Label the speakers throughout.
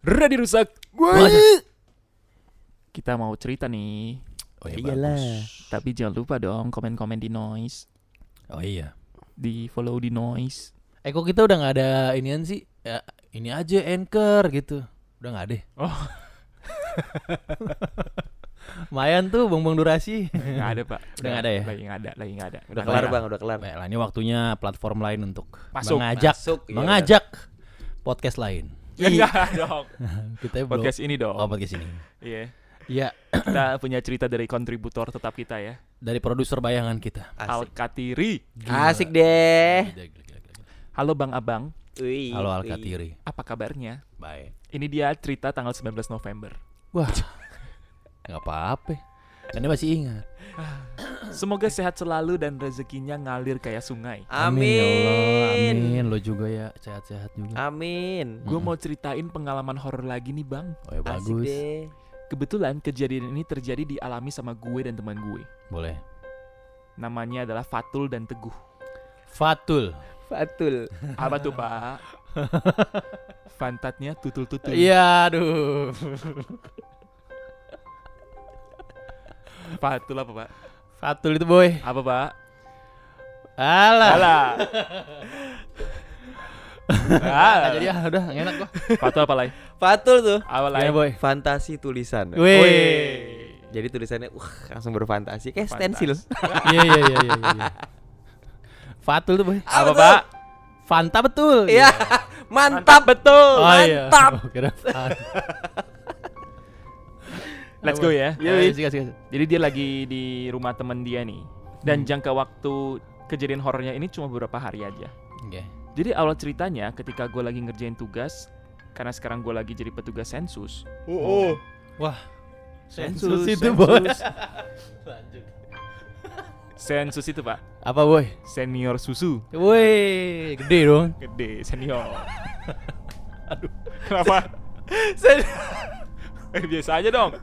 Speaker 1: Ready rusak.
Speaker 2: Waduh.
Speaker 1: Kita mau cerita nih.
Speaker 2: Oh iya,
Speaker 3: Iyalah.
Speaker 2: bagus.
Speaker 1: Tapi jangan lupa dong komen-komen di noise,
Speaker 2: Oh iya.
Speaker 1: di follow di noise.
Speaker 2: Eh kok kita udah nggak ada inian sih? Ya, ini aja anchor gitu. Udah nggak ada.
Speaker 1: Oh.
Speaker 2: Mayan tuh bumbung durasi.
Speaker 1: Nggak ada pak.
Speaker 2: Udah nggak ada ya?
Speaker 1: Lagi nggak ada, lagi nggak ada.
Speaker 3: Udah
Speaker 1: Nggak
Speaker 3: kelar
Speaker 1: ada.
Speaker 3: bang, udah kelar.
Speaker 2: Baiklah, Nah, ini waktunya platform lain untuk
Speaker 1: Masuk.
Speaker 2: mengajak
Speaker 3: Masuk, iya
Speaker 2: mengajak podcast lain.
Speaker 1: Ya, nggak dong.
Speaker 2: Kita belum-
Speaker 1: Podcast ini
Speaker 2: Oh,
Speaker 1: dong.
Speaker 2: podcast ini.
Speaker 1: Iya.
Speaker 2: Iya,
Speaker 1: Kita punya cerita dari kontributor tetap kita ya.
Speaker 2: dari produser bayangan kita.
Speaker 3: Asik.
Speaker 1: Alkatiri.
Speaker 3: Asik deh.
Speaker 1: Halo Bang Abang,
Speaker 3: Wih,
Speaker 2: Halo
Speaker 3: wih.
Speaker 2: Alkatiri.
Speaker 1: apa kabarnya?
Speaker 2: Baik.
Speaker 1: Ini dia cerita tanggal 19 November.
Speaker 2: Wah. Enggak apa-apa. Kan dia masih ingat.
Speaker 1: Semoga sehat selalu dan rezekinya ngalir kayak sungai.
Speaker 2: ya Allah.
Speaker 3: Amin. Ah,
Speaker 2: Amin. Lo juga ya sehat-sehat juga.
Speaker 3: Amin.
Speaker 1: Gue mau ceritain pengalaman horor lagi nih Bang.
Speaker 2: Oh, ya,
Speaker 3: Asik
Speaker 2: bagus.
Speaker 3: deh.
Speaker 1: Kebetulan kejadian ini terjadi dialami sama gue dan teman gue.
Speaker 2: Boleh.
Speaker 1: Namanya adalah Fatul dan Teguh.
Speaker 2: Fatul.
Speaker 3: Fatul.
Speaker 1: Apa tuh pak? Fantatnya tutul-tutul.
Speaker 2: Iya, aduh.
Speaker 1: Fatul apa pak?
Speaker 2: Fatul itu boy.
Speaker 1: Apa pak?
Speaker 2: Alah.
Speaker 1: Alah. Alah.
Speaker 2: Nggak jadi ah, udah nggak enak gua.
Speaker 1: Fatul apa lain?
Speaker 3: Fatul tuh.
Speaker 1: Apa lain?
Speaker 2: Gimana, Iya, boy?
Speaker 3: Fantasi tulisan.
Speaker 2: Wih.
Speaker 3: Jadi tulisannya uh, langsung berfantasi kayak stensil.
Speaker 2: Iya, iya, iya, iya, iya. Fatul tuh boy.
Speaker 1: Apa
Speaker 3: Apa
Speaker 1: pak?
Speaker 2: Fanta betul.
Speaker 3: Iya. Mantap.
Speaker 1: betul.
Speaker 2: Oh, iya.
Speaker 3: Mantap.
Speaker 2: Oh, kira Fanta.
Speaker 1: Let's go ya.
Speaker 2: Ayo, Iya, sikat, sikat.
Speaker 1: Jadi dia lagi di rumah temen dia nih. Dan jangka waktu kejadian horornya ini cuma beberapa hari aja.
Speaker 2: Oke.
Speaker 1: Jadi awal ceritanya ketika gue lagi ngerjain tugas karena sekarang gue lagi jadi petugas sensus.
Speaker 3: Uh, uh.
Speaker 2: Wah.
Speaker 1: Sensus,
Speaker 2: Oh, itu
Speaker 1: sensus.
Speaker 2: boy.
Speaker 1: Sensus itu pak,
Speaker 2: Apa boy?
Speaker 1: senior susu.
Speaker 2: Woi, gede dong.
Speaker 1: Gede, senior. Aduh, kenapa?
Speaker 3: Sen-
Speaker 1: Eh, biasa aja dong.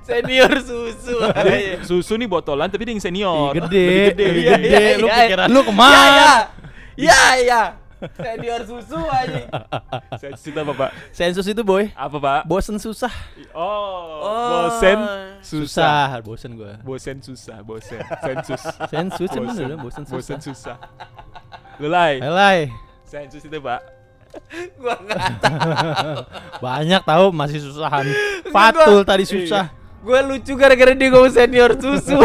Speaker 3: senior susu. Iya,
Speaker 1: Jadi, Eh, susu nih botolan tapi dia yang
Speaker 2: Eh,
Speaker 1: senior.
Speaker 2: Ih, gede,
Speaker 1: Lebih
Speaker 2: lebih
Speaker 1: Iya,
Speaker 2: gede.
Speaker 1: iya.
Speaker 2: Lu pikiran lu kemana?
Speaker 3: Ya, ya. Ya, ya. Senior susu aja.
Speaker 1: Sensus itu apa pak?
Speaker 2: Sensus itu boy.
Speaker 1: Apa pak?
Speaker 2: Bosen susah.
Speaker 1: Oh,
Speaker 3: Oh.
Speaker 1: bosen susah.
Speaker 2: Susah, bosen gua.
Speaker 1: Bosen susah, bosen. Sensus.
Speaker 2: Sensus emang dulu bosen susah.
Speaker 1: Bosen susah. Lulai,
Speaker 2: Helai.
Speaker 1: sensus itu pak.
Speaker 3: Gua enggak tahu.
Speaker 2: Banyak tahu masih susahan. Fatul tadi susah.
Speaker 3: Gue lucu gara-gara dia ngomong senior susu.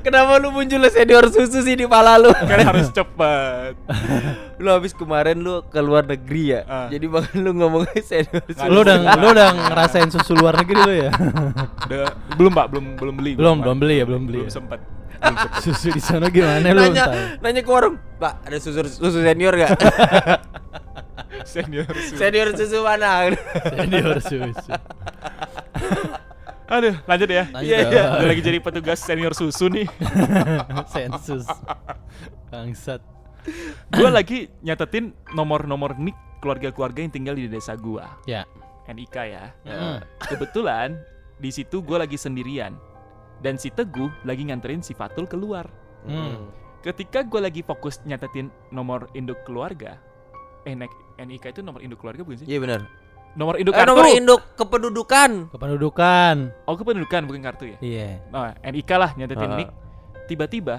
Speaker 3: Kenapa lu muncul senior susu sih di pala lu?
Speaker 1: Kan harus cepat.
Speaker 3: lu habis kemarin lu ke luar negeri ya.
Speaker 1: Ah.
Speaker 3: Jadi bahkan lu ngomong senior susu.
Speaker 2: Lu udah lu udah ngerasain susu luar negeri lu ya?
Speaker 1: Udah- belum pak, belum belum beli.
Speaker 2: belum,
Speaker 1: Pak.
Speaker 2: belum beli ya, belum beli.
Speaker 1: Belum
Speaker 2: ya.
Speaker 1: sempet.
Speaker 2: Susu di sana gimana lu?
Speaker 3: nanya,
Speaker 2: tahu?
Speaker 3: nanya ke warung, Pak, ada susu susu senior gak?
Speaker 1: Senior susu.
Speaker 3: senior susu mana?
Speaker 2: Senior susu.
Speaker 1: Aduh, lanjut ya.
Speaker 2: Lanjut
Speaker 3: Iya,
Speaker 2: ya.
Speaker 3: iya.
Speaker 1: Udah lagi jadi petugas senior susu nih.
Speaker 2: Sensus. Bangsat.
Speaker 1: Gua lagi nyatetin nomor-nomor nik keluarga-keluarga yang tinggal di desa gua.
Speaker 2: Ya.
Speaker 1: NIK ya. Kebetulan di situ gua lagi sendirian. Dan si Teguh lagi nganterin si Fatul keluar.
Speaker 2: Hmm.
Speaker 1: Ketika gua lagi fokus nyatetin nomor induk keluarga, eh nek- NIK itu nomor induk keluarga bukan sih?
Speaker 3: Iya benar.
Speaker 1: Nomor induk
Speaker 3: Eh,
Speaker 1: kartu.
Speaker 3: nomor induk kependudukan.
Speaker 2: Kependudukan.
Speaker 1: oh, kependudukan bukan kartu ya.
Speaker 2: Iya.
Speaker 1: Nah, NIK lah nyatetin
Speaker 3: Ah.
Speaker 1: nik. Tiba-tiba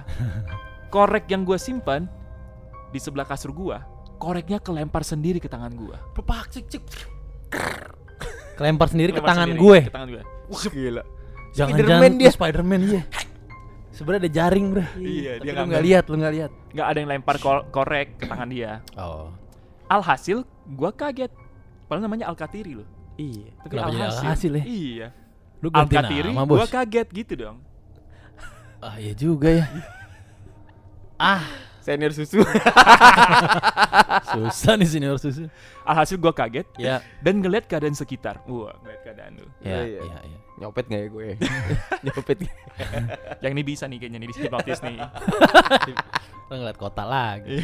Speaker 1: korek yang gua simpan di sebelah kasur gua, koreknya kelempar sendiri ke tangan gua.
Speaker 2: Pepak cik cik. Kelempar sendiri ke
Speaker 1: Kelempar
Speaker 2: tangan
Speaker 1: sendiri
Speaker 2: gue.
Speaker 1: Ke tangan gue.
Speaker 3: Gila.
Speaker 2: Jangan-jangan
Speaker 3: Spiderman dia.
Speaker 2: lu Spiderman iya. Sebenarnya ada jaring, Bro.
Speaker 1: Iya,
Speaker 2: Tapi
Speaker 1: dia
Speaker 2: lu
Speaker 1: nggak
Speaker 2: nggak lihat, lu nggak lihat.
Speaker 1: Nggak ada yang lempar ko- korek ke tangan dia.
Speaker 2: Oh.
Speaker 1: Alhasil, gua kaget. Padahal namanya Alkatiri loh.
Speaker 3: Iya.
Speaker 1: Tapi
Speaker 2: Kenapa jadi alhasil ya?
Speaker 1: Iya.
Speaker 2: Lu ganti
Speaker 1: Alkatiri,
Speaker 2: nama, Bos.
Speaker 1: gua kaget gitu dong.
Speaker 2: Ah, iya juga ya. ah,
Speaker 3: Senior susu.
Speaker 2: susah nih senior susu.
Speaker 1: Alhasil gua kaget
Speaker 2: Ya,
Speaker 1: dan ngeliat keadaan sekitar. Wah, ngeliat keadaan lu.
Speaker 2: ya,
Speaker 3: Iya.
Speaker 2: ya, ya.
Speaker 3: Nyopet gak ya gue? Nyopet. nggak?
Speaker 1: Yang ini bisa nih kayaknya nih di hipnotis nih.
Speaker 2: Lu ngeliat kota lagi.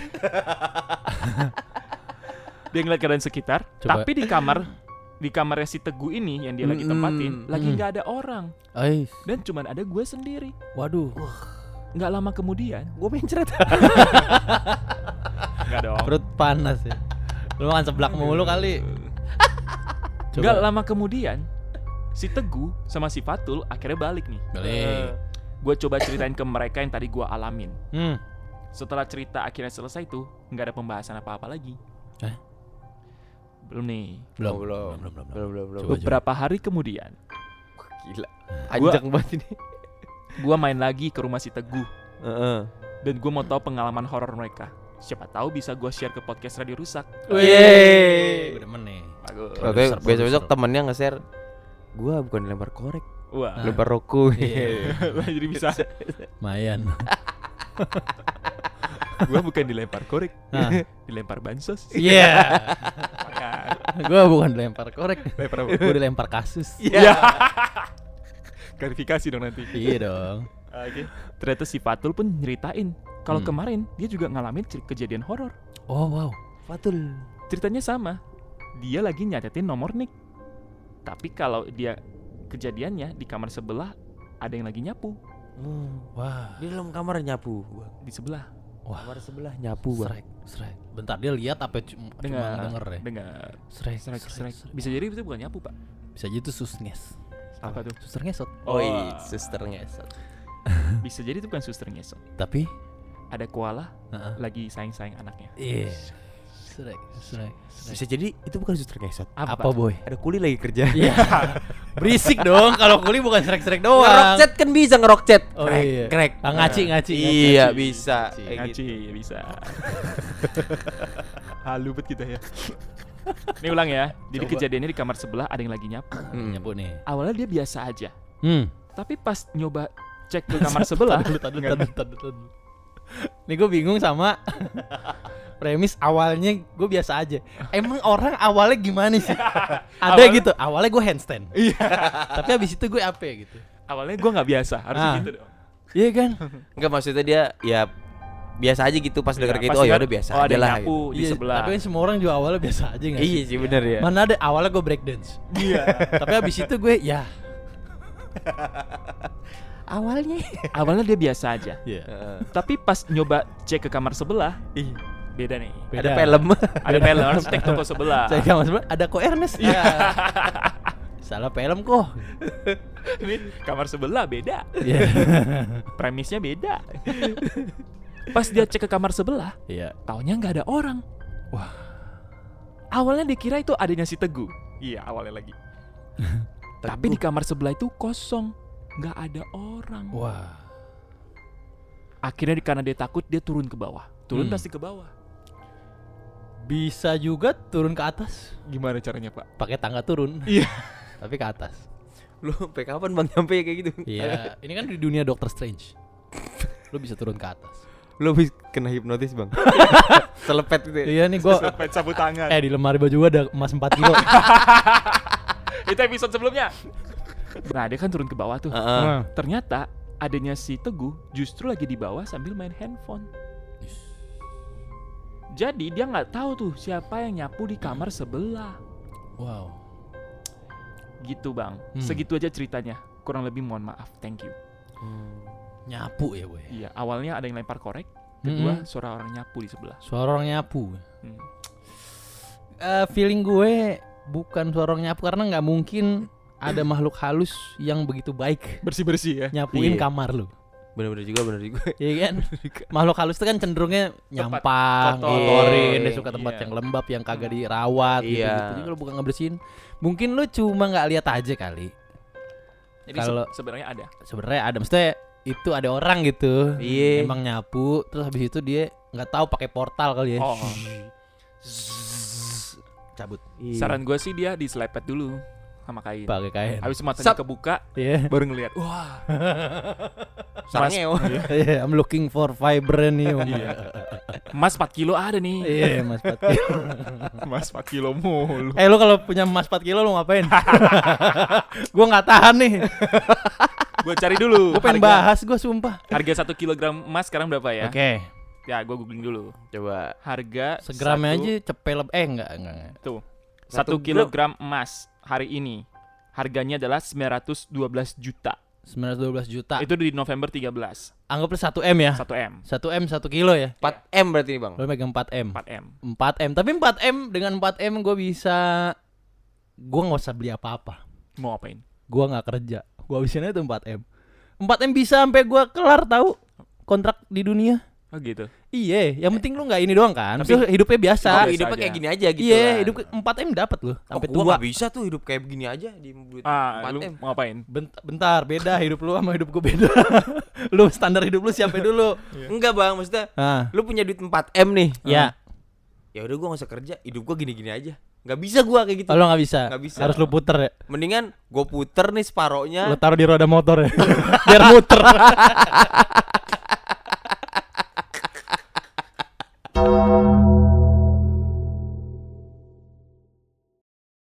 Speaker 1: Dia ngeliat keadaan sekitar,
Speaker 2: Coba.
Speaker 1: tapi di kamar di kamarnya si Teguh ini yang dia lagi
Speaker 3: Mm-mm.
Speaker 1: tempatin, lagi
Speaker 2: Mm.
Speaker 1: nggak ada orang
Speaker 2: Ais.
Speaker 1: dan cuman ada gue sendiri.
Speaker 2: Waduh.
Speaker 1: Nggak lama kemudian,
Speaker 3: Gue mencret.
Speaker 1: nggak dong.
Speaker 2: Perut panas ya. Lu makan seblak mulu kali. Coba.
Speaker 1: Gak lama kemudian si Teguh sama si Fatul akhirnya balik nih.
Speaker 2: Balik.
Speaker 1: Gue coba ceritain ke mereka yang tadi gue alamin.
Speaker 2: Hmm.
Speaker 1: Setelah cerita akhirnya selesai tuh, nggak ada pembahasan apa-apa lagi. Eh?
Speaker 2: Hah?
Speaker 1: Belum nih.
Speaker 2: Belum.
Speaker 3: Oh, belum.
Speaker 2: Belum, belum, belum.
Speaker 3: Belum, belum, belum.
Speaker 2: Coba, coba.
Speaker 1: Beberapa hari kemudian,
Speaker 3: Gila.
Speaker 1: Gua-
Speaker 3: Anjang banget ini.
Speaker 1: gue main lagi ke rumah si Teguh
Speaker 3: Heeh.
Speaker 1: dan gue mau tahu pengalaman horor mereka. Siapa tahu bisa gue share ke podcast Radio Rusak.
Speaker 2: Gua demen nih.
Speaker 1: Bagus.
Speaker 3: Oke,
Speaker 2: Oke. Produser,
Speaker 3: besok-besok
Speaker 2: produser.
Speaker 3: temennya nge-share Gua bukan lempar korek,
Speaker 1: Wah,
Speaker 3: lempar roku
Speaker 2: Iya.
Speaker 1: Ah. jadi bisa.
Speaker 2: Mayan.
Speaker 1: Gue bukan dilempar korek,
Speaker 2: Nah.
Speaker 1: dilempar bansos.
Speaker 2: Iya.
Speaker 1: Makan.
Speaker 2: Gua bukan dilempar korek.
Speaker 1: Lempar apa?
Speaker 2: Gua dilempar kasus.
Speaker 3: Iya.
Speaker 1: Ya. Klarifikasi dong nanti.
Speaker 2: Iya dong.
Speaker 1: Oke. Ternyata si Fatul pun nyeritain kalau
Speaker 2: Hmm.
Speaker 1: kemarin dia juga ngalamin cer- kejadian horor.
Speaker 2: Oh wow. Fatul.
Speaker 1: Ceritanya sama. Dia lagi nyatetin nomor Nick. Tapi kalau dia kejadiannya di kamar sebelah ada yang lagi nyapu
Speaker 3: Hmm.
Speaker 2: Wah.
Speaker 3: Di dalam kamar nyapu, Bang.
Speaker 1: di sebelah.
Speaker 2: Wah.
Speaker 3: Kamar sebelah nyapu, Bang.
Speaker 2: Srek, srek. Bentar dia lihat apa cuma cuma
Speaker 1: Dengar,
Speaker 2: denger ya?
Speaker 1: dengar.
Speaker 2: Srek,
Speaker 1: Serak, serak.
Speaker 2: srek.
Speaker 1: Bisa jadi itu bukan nyapu, Pak.
Speaker 2: Bisa jadi itu sus nges.
Speaker 1: Apa tuh?
Speaker 2: Suster ngesot.
Speaker 3: Oi,
Speaker 1: Oh.
Speaker 3: suster ngesot.
Speaker 1: Bisa jadi itu bukan suster ngesot.
Speaker 2: Tapi
Speaker 1: Ada koala
Speaker 2: Heeh.
Speaker 1: lagi sayang-sayang anaknya.
Speaker 2: Iya. Srek, srek, srek.
Speaker 3: Bisa jadi itu bukan suster ngesot.
Speaker 2: Apa, boy?
Speaker 3: Ah. Ada kuli lagi kerja.
Speaker 2: Iya. Berisik dong kalau kuli bukan srek-srek doang.
Speaker 3: Ngerokcet kan bisa ngerokcet.
Speaker 2: Oh
Speaker 3: Krek,
Speaker 2: iya.
Speaker 3: Krek.
Speaker 2: Ah, ngaci, ngaci, ngaci,
Speaker 3: Iya,
Speaker 2: ngaci.
Speaker 3: bisa.
Speaker 2: Ngaci.
Speaker 3: Kayak gitu.
Speaker 1: Ngaci ya bisa. Halu bet kita ya. Ini ulang ya. Jadi
Speaker 2: Coba.
Speaker 1: kejadiannya di kamar sebelah ada yang lagi nyapu.
Speaker 3: Hmm.
Speaker 2: Nyapu nih.
Speaker 1: Awalnya dia biasa aja.
Speaker 2: Hmm.
Speaker 1: Tapi pas nyoba cek ke kamar sebelah,
Speaker 2: Tadu, tadu, tadu, tadu, tadu. Nih gue bingung sama premis awalnya gue biasa aja. Emang orang awalnya gimana sih? Ada
Speaker 1: Awalnya-
Speaker 2: gitu. Awalnya gue handstand. Iya. Tapi abis itu gue apa gitu?
Speaker 1: awalnya gua nggak biasa. Harus
Speaker 2: Ah.
Speaker 1: gitu dong.
Speaker 2: Iya kan?
Speaker 3: Enggak maksudnya dia ya biasa aja gitu pas denger
Speaker 1: Iya,
Speaker 3: gitu.
Speaker 1: pas
Speaker 3: Oh ya
Speaker 1: lihat,
Speaker 3: udah biasa
Speaker 1: oh, ada
Speaker 3: aja
Speaker 1: yang
Speaker 3: lah.
Speaker 1: nyapu di
Speaker 2: Iya,
Speaker 1: sebelah.
Speaker 2: Tapi kan semua orang juga awalnya biasa aja
Speaker 3: gitu.
Speaker 2: nggak
Speaker 3: Iya
Speaker 2: sih?
Speaker 3: sih bener ya.
Speaker 2: Mana ada awalnya gue breakdance.
Speaker 1: Iya.
Speaker 2: Tapi abis itu gue ya.
Speaker 3: Awalnya.
Speaker 1: awalnya dia biasa aja.
Speaker 2: Iya.
Speaker 3: Eh,
Speaker 1: Tapi pas nyoba cek ke kamar sebelah,
Speaker 3: Ih,
Speaker 1: beda nih.
Speaker 3: Ada film.
Speaker 1: Ada
Speaker 2: Beda.
Speaker 1: pelor, cek toko sebelah.
Speaker 2: Saya sama sebelah ada kok Ernest. Iya. Salah film kok.
Speaker 1: Ini kamar sebelah beda.
Speaker 2: Iya.
Speaker 1: Premisnya beda. pas dia cek ke kamar sebelah,
Speaker 2: Iya.
Speaker 1: Taunya nggak ada orang. Wah. Awalnya dikira itu adanya si Teguh. Iya, awalnya lagi. Tapi di kamar sebelah itu kosong, nggak ada orang.
Speaker 2: Wah.
Speaker 1: Akhirnya karena dia takut dia turun ke bawah. Turun
Speaker 2: Hmm.
Speaker 1: pasti ke bawah.
Speaker 2: Bisa juga turun ke atas
Speaker 1: Gimana caranya pak?
Speaker 2: pakai tangga turun.
Speaker 1: Iya.
Speaker 2: Tapi ke atas.
Speaker 3: lu sampai kapan Bang nyampe kayak gitu?
Speaker 2: Iya. Ini kan di dunia Doctor Strange. Lu bisa turun ke atas.
Speaker 3: Lu habis kena hipnotis, Bang. Selepet gitu. ya.
Speaker 2: Iya nih gua
Speaker 1: Pet sapu tangan.
Speaker 2: eh di lemari baju gua ada emas 4 kilo.
Speaker 1: itu episode sebelumnya. Nah dia kan turun ke bawah tuh.
Speaker 3: Heeh.
Speaker 2: Nah.
Speaker 1: Ternyata adanya si Teguh justru lagi di bawah sambil main handphone. Jadi dia nggak tahu tuh siapa yang nyapu di kamar sebelah.
Speaker 2: Wow.
Speaker 1: Gitu bang.
Speaker 2: Hmm.
Speaker 1: Segitu aja ceritanya. Kurang lebih mohon maaf. Thank you.
Speaker 3: Hmm.
Speaker 2: Nyapu ya, boy.
Speaker 1: Iya, awalnya ada yang lempar korek, kedua
Speaker 2: Mm-mm.
Speaker 1: suara orang nyapu di sebelah.
Speaker 2: Suara orang nyapu.
Speaker 1: Hmm.
Speaker 2: Eh, feeling gue bukan suara orang nyapu karena nggak mungkin ada makhluk halus yang begitu baik
Speaker 1: Bersih-bersih ya.
Speaker 2: nyapuin
Speaker 3: Iya.
Speaker 2: kamar lu.
Speaker 3: Bener-bener juga, bener juga.
Speaker 2: Iya kan? Makhluk halus itu kan cenderungnya nyampang,
Speaker 1: kotor.
Speaker 2: kotorin, dia
Speaker 1: Iya.
Speaker 2: suka tempat
Speaker 1: Iya.
Speaker 2: yang lembab yang kagak dirawat
Speaker 3: Iya.
Speaker 2: gitu. Jadi kalau bukan ngebersihin, mungkin lu cuma nggak lihat aja kali.
Speaker 1: Jadi se-
Speaker 2: Kalau-
Speaker 1: sebenarnya ada.
Speaker 2: Sebenarnya ada maksudnya itu ada orang gitu.
Speaker 3: Iya.
Speaker 2: Emang nyapu, terus habis itu dia nggak tahu pakai portal kali ya.
Speaker 1: Oh,
Speaker 2: Zzz, Cabut
Speaker 3: Iya.
Speaker 1: saran gue sih dia diselepet dulu sama kain.
Speaker 2: pakai kain.
Speaker 1: Iya. Habis matanya
Speaker 3: Sap.
Speaker 1: kebuka,
Speaker 2: Iya.
Speaker 1: baru ngelihat. Wah,
Speaker 3: Sarang
Speaker 1: Mas-
Speaker 3: ngewo.
Speaker 2: Iya, I'm looking for vibranium.
Speaker 1: emas 4 kilo ada nih.
Speaker 2: Iya, Mas 4 kilo. Iya.
Speaker 1: Emas 4 kilo mulu.
Speaker 2: eh, lu kalau punya Mas 4 kilo lu ngapain? gua nggak tahan nih.
Speaker 1: gue cari dulu.
Speaker 2: Gua pengen
Speaker 1: harga,
Speaker 2: bahas gua sumpah.
Speaker 1: harga 1 kilogram emas sekarang berapa ya?
Speaker 2: Oke.
Speaker 1: Ya, gue googling dulu.
Speaker 3: Coba
Speaker 1: Harga
Speaker 2: Segramnya
Speaker 1: satu-
Speaker 2: aja cepelep eh enggak enggak. enggak.
Speaker 1: Tuh.
Speaker 3: Satu
Speaker 1: 1 kilogram emas hari ini harganya adalah 912 juta.
Speaker 2: 912 juta.
Speaker 1: Itu di November 13,
Speaker 2: Anggaplah 1 M ya.
Speaker 1: 1 M,
Speaker 2: 1 M 1 kilo ya.
Speaker 3: 4 M berarti nih bang.
Speaker 2: Lo megang 4 M.
Speaker 1: 4 M.
Speaker 2: 4 M. Tapi 4 M dengan 4 M gue bisa gue nggak usah beli apa-apa.
Speaker 1: Mau ngapain?
Speaker 2: Gue nggak kerja. Gue habisin aja tuh 4 M. 4 M bisa sampai gue kelar tahu kontrak di dunia.
Speaker 1: Oh gitu.
Speaker 2: Iya, yang penting lu nggak ini doang kan.
Speaker 1: Tapi-
Speaker 2: Tapi hidupnya biasa.
Speaker 1: Tapi
Speaker 3: Nah,
Speaker 1: biasa
Speaker 3: hidupnya
Speaker 1: aja.
Speaker 3: kayak gini aja gitu.
Speaker 2: iya,
Speaker 3: kan.
Speaker 2: hidup 4 M dapat loh
Speaker 3: Oh,
Speaker 2: sampai
Speaker 3: gua
Speaker 2: tua.
Speaker 3: nggak bisa tuh hidup kayak begini aja di duit
Speaker 1: Ah,
Speaker 3: 4
Speaker 1: lu
Speaker 3: M.
Speaker 1: mau ngapain?
Speaker 2: Bent- Bentar, beda hidup lu sama hidup gue beda. lu standar hidup lu siapa dulu?
Speaker 1: iya.
Speaker 3: Enggak bang, maksudnya
Speaker 2: Ah,
Speaker 3: lu punya duit 4 M nih.
Speaker 2: ya.
Speaker 3: Ya udah gua nggak usah kerja, hidup gua gini-gini aja. Nggak bisa gua kayak gitu.
Speaker 2: Oh, lo nggak bisa.
Speaker 3: Nggak bisa.
Speaker 2: Harus lu puter ya.
Speaker 3: Mendingan gua puter nih separohnya.
Speaker 2: Lu taruh di roda motor ya. Biar muter.